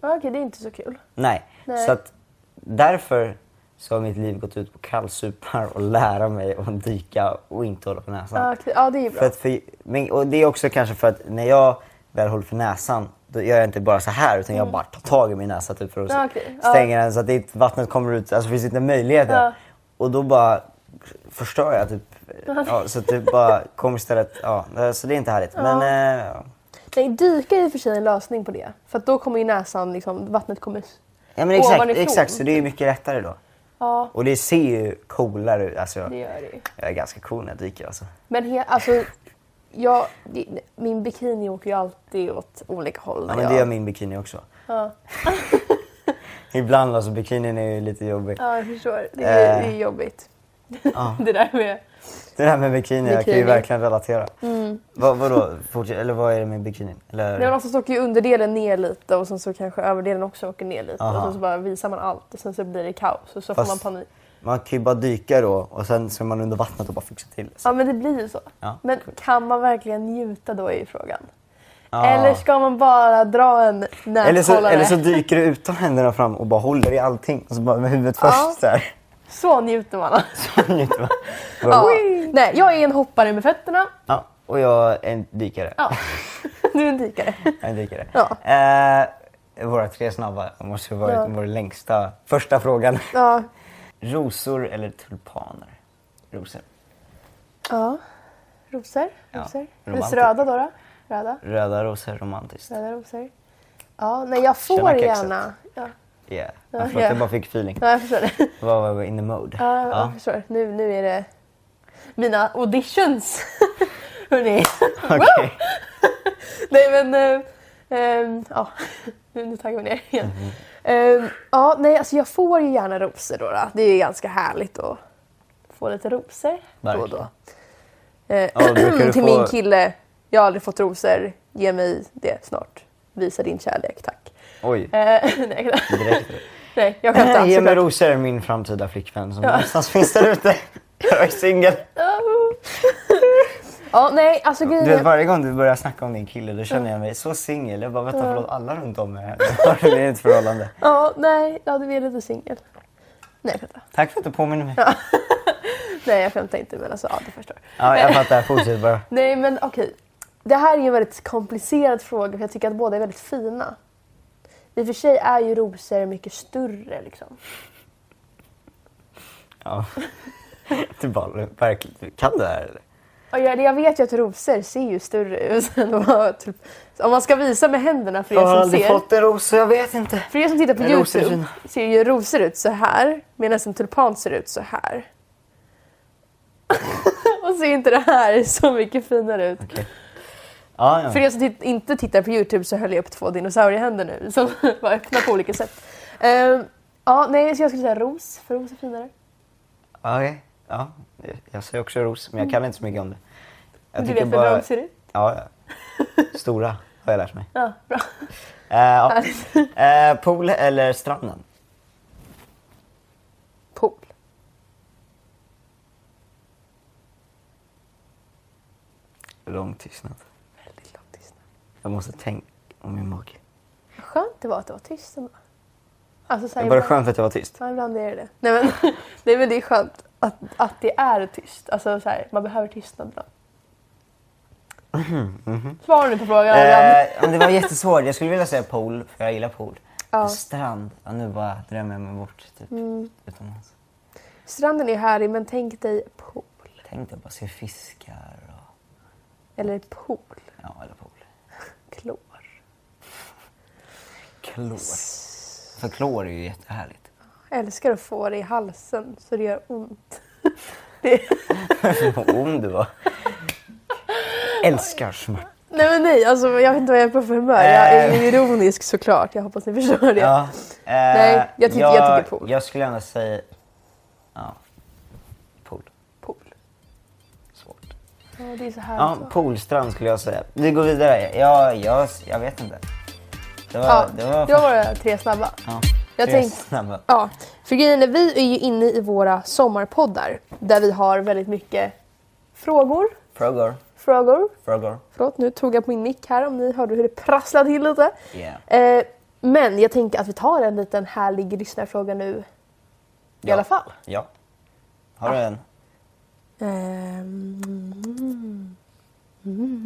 Speaker 3: ja, Okej, det är inte så kul.
Speaker 4: Nej.
Speaker 3: Nej.
Speaker 4: Så att därför så har mitt liv gått ut på kallsupar och lära mig att dyka och inte hålla för näsan.
Speaker 3: Ja, okej. Ja, det är ju bra.
Speaker 4: För att för, men, och det är också kanske för att när jag väl håller för näsan då gör jag inte bara så här utan jag bara tar tag i min näsa typ för att
Speaker 3: Mm. Ja, okej. Ja.
Speaker 4: stänga den så att det, inte- vattnet kommer ut, alltså finns inte möjligheter.
Speaker 3: Ja.
Speaker 4: Och då bara förstör jag typ, ja, så att det bara kommer istället, ja, så det är inte härligt. Men, eh, ja.
Speaker 3: Nej, dyka är i och för sig en lösning på det. För att då kommer ju näsan, liksom, vattnet kommer...
Speaker 4: ja men exakt,
Speaker 3: Ovanifrån.
Speaker 4: exakt, så det är mycket lättare då.
Speaker 3: Ja,
Speaker 4: Och det ser ju coolare ut, alltså
Speaker 3: det
Speaker 4: jag,
Speaker 3: gör det ju.
Speaker 4: jag är ganska cool när jag dyker alltså.
Speaker 3: Men he- alltså, jag, det- min bikini åker ju alltid åt olika håll.
Speaker 4: Ja,
Speaker 3: när
Speaker 4: men det
Speaker 3: jag-
Speaker 4: gör min bikini också. Ibland alltså, bikinin är ju lite jobbig.
Speaker 3: Ja, jag förstår. Det är,
Speaker 4: Eh.
Speaker 3: det är jobbigt.
Speaker 4: Ja.
Speaker 3: det där med...
Speaker 4: Det här med bikini, jag kan ju
Speaker 3: Bikini. Mm.
Speaker 4: verkligen relatera. Vad, vadå? Fortsätt- eller vad är det med bikinin? Eller,
Speaker 3: Nej, men alltså, så åker ju underdelen ner lite och sen så kanske överdelen också åker ner lite.
Speaker 4: Aha.
Speaker 3: Och sen så bara visar man allt och sen så blir det kaos och så
Speaker 4: Fast-
Speaker 3: får man panik.
Speaker 4: man kan ju bara dyka då och sen så är man under vattnet och bara fixa till det.
Speaker 3: Ja, men det blir ju så.
Speaker 4: Ja.
Speaker 3: Men kan man verkligen njuta då är ju frågan.
Speaker 4: Ja.
Speaker 3: Eller ska man bara dra en näshållare?
Speaker 4: eller, så, eller så dyker du utan händerna fram och bara håller i allting och så bara med huvudet
Speaker 3: Ja.
Speaker 4: först så här.
Speaker 3: Så njuter man.
Speaker 4: Så njuter man. Bara,
Speaker 3: Ja.
Speaker 4: "Wii!"
Speaker 3: Nej, jag är en hoppare med fötterna.
Speaker 4: ja. Och jag är en dykare.
Speaker 3: Ja. du är en dykare.
Speaker 4: Jag är en dykare.
Speaker 3: Ja.
Speaker 4: Eh, våra tre snabba måste ju vara
Speaker 3: Ja.
Speaker 4: vår längsta första frågan.
Speaker 3: Ja.
Speaker 4: Rosor eller tulpaner? Rosor.
Speaker 3: Ja. Rosor.
Speaker 4: Ja,
Speaker 3: rosor. Eller
Speaker 4: romantik.
Speaker 3: röda då, då. Röda.
Speaker 4: Röda rosor, romantiskt.
Speaker 3: Röda rosor. Ja, nej jag får
Speaker 4: Tjena, kexet.
Speaker 3: gärna. Ja,
Speaker 4: Yeah.
Speaker 3: Ja,
Speaker 4: Jag, förlåt,
Speaker 3: ja.
Speaker 4: jag bara fick feeling.
Speaker 3: ja jag förstår det.
Speaker 4: Vad var in the mode?
Speaker 3: Ja, jag förstår. Nu, nu är det mina auditions. Hörni.
Speaker 4: okej.
Speaker 3: Nej men, eh, eh, ja. Nu, nu taggar vi ner igen. Eh, ja, nej alltså jag får ju gärna rosor då. då. Det är ju ganska härligt att få lite rosor då och då.
Speaker 4: Verkligen.
Speaker 3: Eh,
Speaker 4: Ja, brukar du
Speaker 3: till
Speaker 4: få-
Speaker 3: min kille, jag har aldrig fått rosor. Ge mig det snart. Visa din kärlek, tack.
Speaker 4: Oj,
Speaker 3: Eh, nej,
Speaker 4: direkt.
Speaker 3: nej, jag skämtar
Speaker 4: Ge mig
Speaker 3: såklart.
Speaker 4: rosor, min framtida flickvän som någonstans finns där ute. Jag är singel.
Speaker 3: Ja, nej, alltså
Speaker 4: Du
Speaker 3: grejen
Speaker 4: vet
Speaker 3: är...
Speaker 4: varje gång du börjar snacka om din kille då känner jag mig så singel. Jag bara vänta förlåt alla runt om mig här. Det är ett förhållande.
Speaker 3: Ja, nej, ja, du är lite singel. Nej, jag skämtar.
Speaker 4: Tack för att du påminner mig.
Speaker 3: Nej, jag skämtar inte, men alltså, ja, du förstår.
Speaker 4: Ja, jag fattar, fortsätt bara.
Speaker 3: Nej, men okej. Det här är en väldigt komplicerad fråga, för jag tycker att båda är väldigt fina. I och för sig är ju rosor mycket större, liksom.
Speaker 4: Ja. Du bara, verkligen, kan du det här eller?
Speaker 3: Och jag, jag vet ju att rosor ser ju större ut än vad... Typ, om man ska visa med händerna för
Speaker 4: Jag har
Speaker 3: er som
Speaker 4: aldrig
Speaker 3: ser.
Speaker 4: fått en ros så jag vet inte.
Speaker 3: För er som tittar på
Speaker 4: En ros är
Speaker 3: Youtube ser ju rosor ut så här medan en tulpan ser ut så här. Och ser inte det här så mycket finare ut.
Speaker 4: Ja, ja.
Speaker 3: För er som tit- inte tittar på Youtube så höll jag upp två dinosauriehänder nu som var öppna på olika sätt. Ehm, ja, nej, så jag skulle säga ros, för ros är finare.
Speaker 4: Ja, okej. Ja, jag säger också ros, men jag kan inte så mycket om det. Jag
Speaker 3: Du
Speaker 4: tycker
Speaker 3: vet hur de ser ut?
Speaker 4: Ja, ja. stora har jag lärt mig.
Speaker 3: Ja, bra.
Speaker 4: Eh, ja.
Speaker 3: Härligt.
Speaker 4: eh, pool eller stranden?
Speaker 3: Pool.
Speaker 4: Lång tystnad.
Speaker 3: Väldigt lång tystnad.
Speaker 4: Jag måste tänka om min mage.
Speaker 3: Vad Skönt det var att det var tyst ändå. Alltså, så
Speaker 4: Det
Speaker 3: här
Speaker 4: var bara
Speaker 3: ibland-
Speaker 4: skönt att jag var tyst.
Speaker 3: Ja, ibland är det det. Nej men, nej, men det är skönt att, att det är tyst. Alltså så här, man behöver tystnad ibland. Svara nu på frågan. Adam.
Speaker 4: Mhm, Eh, om det var jättesvårt. Jag skulle vilja säga pool, för jag gillar pool.
Speaker 3: Ja.
Speaker 4: Men Strand, ja, nu bara drömmer jag mig bort typ, utomlands.
Speaker 3: Stranden är härlig men tänk dig pool.
Speaker 4: Tänk dig bara se fiskar och
Speaker 3: Eller pool.
Speaker 4: ja, eller pool.
Speaker 3: Klor.
Speaker 4: Klor. För klor är ju jättehärligt.
Speaker 3: Jag älskar att få det i halsen så det gör ont. Det,
Speaker 4: Vad ond du var. Älskar smärta.
Speaker 3: nej men nej, alltså, jag vet inte vad jag är på för humör. Jag är
Speaker 4: Eh.
Speaker 3: ju ironisk såklart. Jag hoppas ni förstår det.
Speaker 4: Ja, eh,
Speaker 3: Nej, jag tycker- jag tycker pool.
Speaker 4: Jag skulle ändå säga... Ja. Pool.
Speaker 3: Pool.
Speaker 4: Svårt.
Speaker 3: Ja, det är så alltså.
Speaker 4: Ja,
Speaker 3: härligt.
Speaker 4: poolstrand skulle jag säga. Vi går vidare. Ja, jag, jag vet inte. Det var...
Speaker 3: Ja,
Speaker 4: det var,
Speaker 3: det var våra tre snabba.
Speaker 4: ja,
Speaker 3: Jag
Speaker 4: tre
Speaker 3: tänkte-
Speaker 4: snabba.
Speaker 3: Ja, för grejen är vi är ju inne i våra sommarpoddar där vi har väldigt mycket frågor.
Speaker 4: Frogor.
Speaker 3: Frågor.
Speaker 4: Frogor.
Speaker 3: Förlåt, nu tog jag på min mick här om ni hörde hur det prasslade till lite.
Speaker 4: Yeah.
Speaker 3: Eh, men jag tänker att vi tar en liten härlig lyssnarfråga nu i
Speaker 4: Ja.
Speaker 3: alla fall.
Speaker 4: Ja. Har du en?
Speaker 3: Ehm, mm.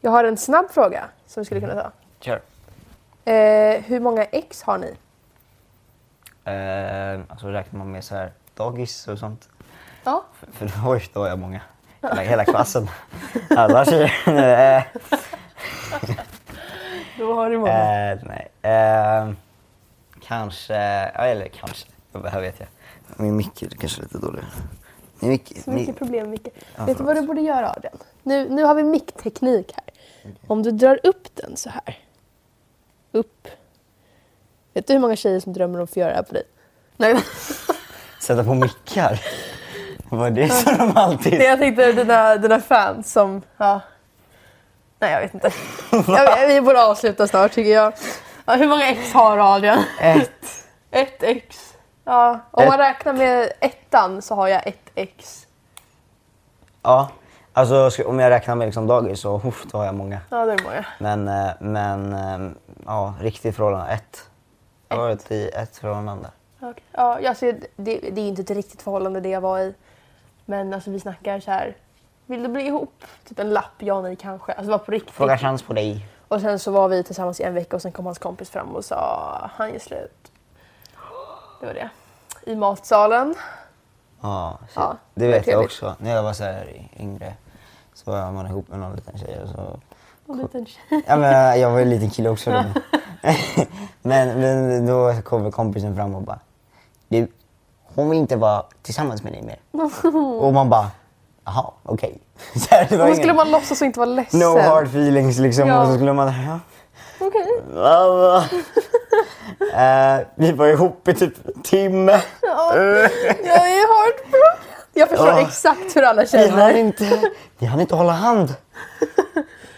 Speaker 3: Jag har en snabb fråga som vi skulle kunna ta.
Speaker 4: Kör.
Speaker 3: Eh, hur många ex har ni?
Speaker 4: Eh, alltså räknar man med så här dagis och sånt?
Speaker 3: Ja.
Speaker 4: För då, oj, då har jag många. Hela, hela klassen. Alla tjejer. Eh,
Speaker 3: Då har du många.
Speaker 4: eh, nej. Eh, kanske... Ja, eller kanske. Det här vet jag. Min mick är kanske lite dålig. Min mick...
Speaker 3: Så mycket problem Micke. Vet
Speaker 4: förlåt.
Speaker 3: du vad du borde göra av den? Nu, nu har vi mickteknik här. Om du drar upp den så här. Upp. Vet du hur många tjejer som drömmer om att få göra det här på dig? Nej,
Speaker 4: sätta på mickar. Vad det som de alltid...
Speaker 3: jag tänkte dina, dina fans som... Ja. Nej, jag vet inte. Jag, vi borde avsluta snart tycker jag. Ja, hur många ex har Adrian?
Speaker 4: Ett.
Speaker 3: Ett ex. Ja, om man
Speaker 4: Ett.
Speaker 3: räknar med ettan så har jag ett ex.
Speaker 4: Ja. Alltså ska- om jag räknar med liksom dagis så uff, då har jag många.
Speaker 3: Ja, det är många.
Speaker 4: Men, eh, men eh, ja, riktigt förhållande, ett. Jag har varit i ett förhållande.
Speaker 3: Okej. Ja, jag ser, det, det är inte ett riktigt förhållande det jag var i. Men alltså vi snackar så här. Vill du bli ihop? Typ en lapp, ja nej kanske. Alltså det var på riktigt.
Speaker 4: Fråga chans på dig.
Speaker 3: Och sen så var vi tillsammans i en vecka och sen kom hans kompis fram och sa han gör slut. Det var det. I matsalen.
Speaker 4: Ja, shit.
Speaker 3: Ja,
Speaker 4: det
Speaker 3: det var
Speaker 4: vet jag
Speaker 3: trevligt.
Speaker 4: också. När jag var så här yngre så var man ihop med någon liten tjej och så...
Speaker 3: En liten tjej.
Speaker 4: Ja, men jag var ju en liten kille också då. men, men då kom kompisen fram och bara... Du, hon vill inte vara tillsammans med dig mer. och man bara... Jaha, okej. Så här, det var
Speaker 3: Och då
Speaker 4: ingen-
Speaker 3: skulle man låtsas och inte vara ledsen.
Speaker 4: No hard feelings liksom.
Speaker 3: Ja.
Speaker 4: Och så skulle man... Ja.
Speaker 3: Okej.
Speaker 4: Va, va. Eh, vi var ihop i typ en timme.
Speaker 3: Ja, jag är heartbroken. Jag förstår
Speaker 4: Ja.
Speaker 3: exakt hur alla
Speaker 4: Vi hann
Speaker 3: känner.
Speaker 4: inte, vi hann inte hålla hand.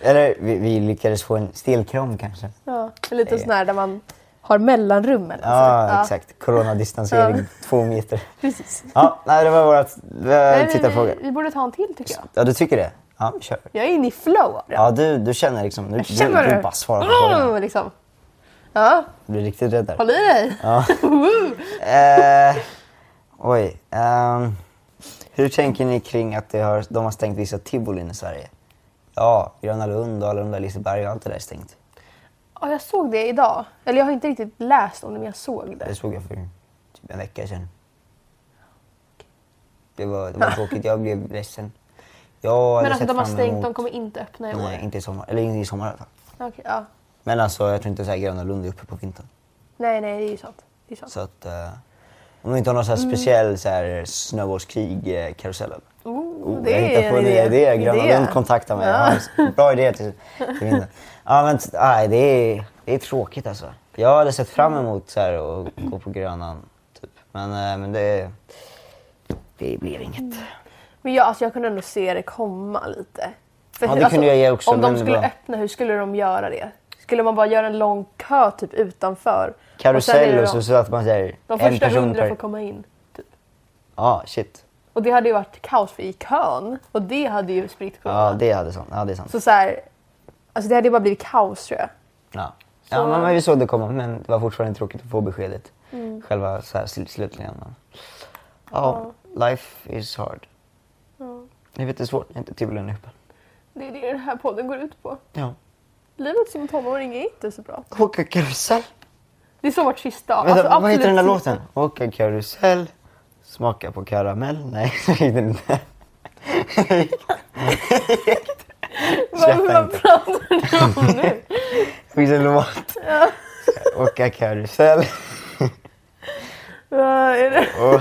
Speaker 4: Eller vi, vi lyckades få en stelkram kanske.
Speaker 3: Ja, en liten sån här där man har mellanrummen.
Speaker 4: Ja, exakt. Coronadistansering,
Speaker 3: Ja.
Speaker 4: två meter.
Speaker 3: Precis.
Speaker 4: Ja, nej, det var vårat
Speaker 3: Nej,
Speaker 4: eh, tittarfråga.
Speaker 3: vi, vi borde ta en till tycker jag.
Speaker 4: Ja, du tycker det? Ja, kör.
Speaker 3: Jag är inne i flow av det.
Speaker 4: Ja, du, du känner liksom... Du,
Speaker 3: jag känner
Speaker 4: du,
Speaker 3: det.
Speaker 4: du bara svarar på frågan.
Speaker 3: Mm, liksom. Ja,
Speaker 4: Du blir riktigt rädd där.
Speaker 3: håll i dig.
Speaker 4: Eh, oj. ehm, hur tänker ni kring att det har, de har stängt vissa tivolin i Sverige? Ja, Gröna Lund, Alunda, Liseberg och allt det där är stängt.
Speaker 3: Ja, jag såg det idag. Eller jag har inte riktigt läst om det, men jag såg
Speaker 4: Det
Speaker 3: det.
Speaker 4: såg jag för typ en vecka sedan. Det var, det var tråkigt, jag blev ledsen. Jag hade
Speaker 3: Men alltså
Speaker 4: sett
Speaker 3: de har
Speaker 4: fram
Speaker 3: stängt,
Speaker 4: emot-
Speaker 3: de kommer inte öppna i år.
Speaker 4: Nej, inte i sommar. Eller inte i sommar i alla fall.
Speaker 3: Okej, ja.
Speaker 4: Men alltså, jag tror inte så här Gröna Lund är uppe på vintern.
Speaker 3: Nej, nej, det är ju sant. Det är sant.
Speaker 4: Så att... eh, om vi inte har någon så här speciell så här, snöbollskrig-karusell. eller?
Speaker 3: Oh,
Speaker 4: jag hittar på en idé. Det är Gröna Lund kontaktar mig.
Speaker 3: Ja.
Speaker 4: Ja. Bra idé till, till vinden. Ja, men t- nej, det, är, det är tråkigt alltså. Jag hade sett fram emot så här, att gå på Grönan. Typ. Men, eh, men det, det blev
Speaker 3: Mm.
Speaker 4: inget.
Speaker 3: Men jag, alltså, jag kunde ändå se det komma lite. För
Speaker 4: Ja,
Speaker 3: hur- alltså,
Speaker 4: det kunde jag ge också,
Speaker 3: Om
Speaker 4: men
Speaker 3: de
Speaker 4: det
Speaker 3: skulle
Speaker 4: var-
Speaker 3: öppna, hur skulle de göra det? Skulle man bara göra en lång kö typ utanför? sen är
Speaker 4: Karusell
Speaker 3: det
Speaker 4: och så, så att man säger
Speaker 3: De, de
Speaker 4: en
Speaker 3: första
Speaker 4: person
Speaker 3: hundra
Speaker 4: per...
Speaker 3: får
Speaker 4: Ja,
Speaker 3: komma in. Typ.
Speaker 4: ah, shit.
Speaker 3: Och det hade ju varit kaos för i kön. Och det hade ju spritt
Speaker 4: Ja,
Speaker 3: corona.
Speaker 4: det hade sånt. Ja, det är sant.
Speaker 3: Så, så här, alltså det hade ju bara blivit kaos tror jag.
Speaker 4: Ja. Ja, men, men vi såg det komma, men det var fortfarande tråkigt att få beskedet.
Speaker 3: Mm.
Speaker 4: Själva så här, sl- slutligen. Men... Ja, life is hard. Livet är svårt, inte tubulen är öppen.
Speaker 3: Det är det den här podden går ut på.
Speaker 4: Ja.
Speaker 3: Livet som tonåring är inte så bra.
Speaker 4: Åka karusell.
Speaker 3: Det är så vårt sista
Speaker 4: Vänta,
Speaker 3: alltså,
Speaker 4: vad heter den där
Speaker 3: absolut
Speaker 4: låten? Åka karusell, smaka på karamell. Nej, så heter den inte.
Speaker 3: sista- Vad
Speaker 4: Jag
Speaker 3: vad pratar du om nu?
Speaker 4: Det finns en låt. Åka karusell.
Speaker 3: Vad är det?
Speaker 4: Och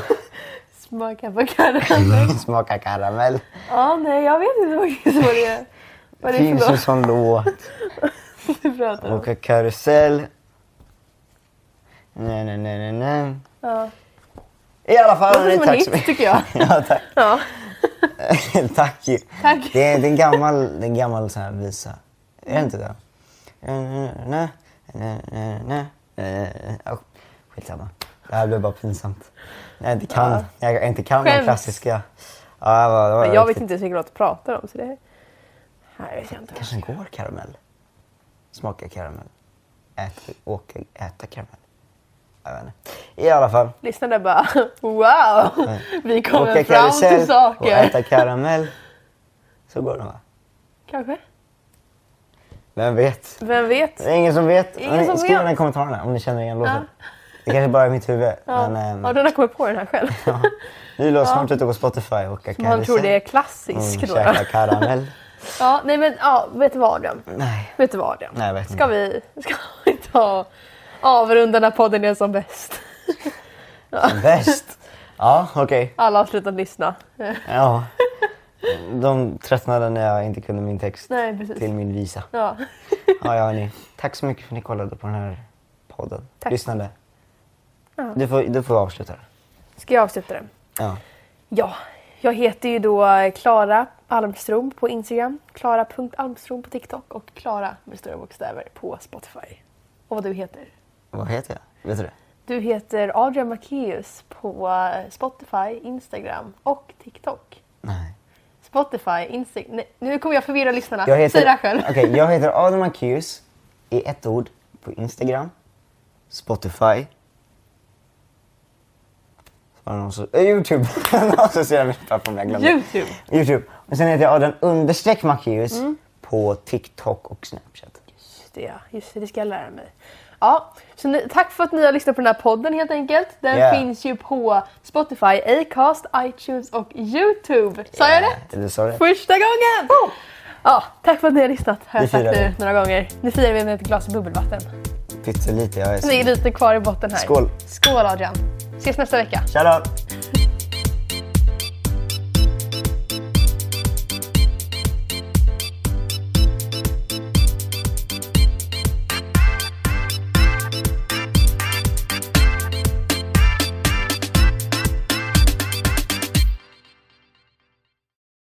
Speaker 3: Smaka på karamell.
Speaker 4: smaka karamell.
Speaker 3: Ja, nej, jag vet inte faktiskt vad det är. Vad
Speaker 4: Det
Speaker 3: det är
Speaker 4: finns
Speaker 3: för
Speaker 4: en
Speaker 3: låt
Speaker 4: sån låt.
Speaker 3: du pratar om.
Speaker 4: Åka karusell. Nej, nej, nej, nej, nej.
Speaker 3: Ja.
Speaker 4: I alla fall,
Speaker 3: Det låter som en
Speaker 4: tack så
Speaker 3: hit
Speaker 4: mycket.
Speaker 3: tycker jag.
Speaker 4: Ja, tack.
Speaker 3: Ja.
Speaker 4: tack. ju.
Speaker 3: Tack.
Speaker 4: Det är det är en gammal, det är en gammal sån här visa. Är det inte det? Na, na, na, na, na. Åh, Skitsamma. Det här blev bara pinsamt. Jag inte kan, jag inte kan de
Speaker 3: Skäms.
Speaker 4: klassiska. Ja, det var, det var
Speaker 3: Men jag vet
Speaker 4: riktigt-
Speaker 3: inte ens vilken låt du pratar om. Så det... Nej, vet jag inte.
Speaker 4: kanske den går karamell. Smaka karamell. Äta, åka, äta karamell. Jag vet inte. I alla fall.
Speaker 3: Lyssna där bara wow, vi kommer
Speaker 4: Åka
Speaker 3: fram till
Speaker 4: karusell och äta
Speaker 3: saker.
Speaker 4: karamell. Så går det va?
Speaker 3: Kanske.
Speaker 4: Vem vet?
Speaker 3: Vem vet?
Speaker 4: Det är ingen som vet.
Speaker 3: Ingen som
Speaker 4: Skriv
Speaker 3: vet.
Speaker 4: den i kommentarerna om ni känner igen låten. Det kanske bara är mitt huvud.
Speaker 3: Ja.
Speaker 4: Men,
Speaker 3: ja,
Speaker 4: ehm,
Speaker 3: den har kommit på den här själv.
Speaker 4: ja. Ny låt snart ute på Spotify. Åka karamell.
Speaker 3: Man tror det är klassisk
Speaker 4: Mm,
Speaker 3: då.
Speaker 4: käka karamell.
Speaker 3: Ja, nej men ja, vet du vad Adrian?
Speaker 4: Nej.
Speaker 3: Vet du vad Adrian?
Speaker 4: Nej, jag vet
Speaker 3: ska, vi, ska vi ta avrunda när podden är som bäst?
Speaker 4: Bäst. Ja, okej.
Speaker 3: Alla har slutat lyssna.
Speaker 4: Ja. De tröttnade när jag inte kunde min text
Speaker 3: Nej, precis.
Speaker 4: till min visa.
Speaker 3: Ja.
Speaker 4: Ja, ja hörni. Tack så mycket för att ni kollade på den här podden.
Speaker 3: Tack.
Speaker 4: Lyssnade. Du, får, du får avsluta den.
Speaker 3: Ska jag avsluta den?
Speaker 4: Ja.
Speaker 3: Ja, jag heter ju då Klara Almstrom på Instagram, klara.almstrom på TikTok och Klara med stora bokstäver på Spotify. Och vad du heter?
Speaker 4: Vad heter jag? Vet du det?
Speaker 3: Du heter Adrian Macéus på eh, Spotify, Instagram och TikTok.
Speaker 4: Nej.
Speaker 3: Spotify, Instagram... Nej, nu kommer jag förvirra lyssnarna.
Speaker 4: Jag heter,
Speaker 3: Säg det här själv.
Speaker 4: Okej, jag heter Adam Akius i ett ord på Instagram, Spotify. Så har någon så, eh, Youtube. någon som ser mig på om jag glömde.
Speaker 3: Youtube. Mm.
Speaker 4: Youtube. Och sen heter jag Adam understreck Macius på TikTok och Snapchat.
Speaker 3: Just det, ja. just det, det ska jag lära mig. Ja, så ni, tack för att ni har lyssnat på den här podden helt enkelt. Den
Speaker 4: Yeah.
Speaker 3: finns ju på Spotify, Acast, iTunes och YouTube. Sa jag rätt?
Speaker 4: Du sa det.
Speaker 3: Första gången! Ja, tack för att ni har lyssnat har
Speaker 4: Vi
Speaker 3: jag sagt
Speaker 4: firar
Speaker 3: nu några gånger. Nu firar vi med ett glas bubbelvatten.
Speaker 4: Pyttelite, jag är
Speaker 3: Det är
Speaker 4: så...
Speaker 3: lite kvar i botten här.
Speaker 4: Skål.
Speaker 3: Skål Adrian! Ses nästa vecka.
Speaker 4: Shoutout!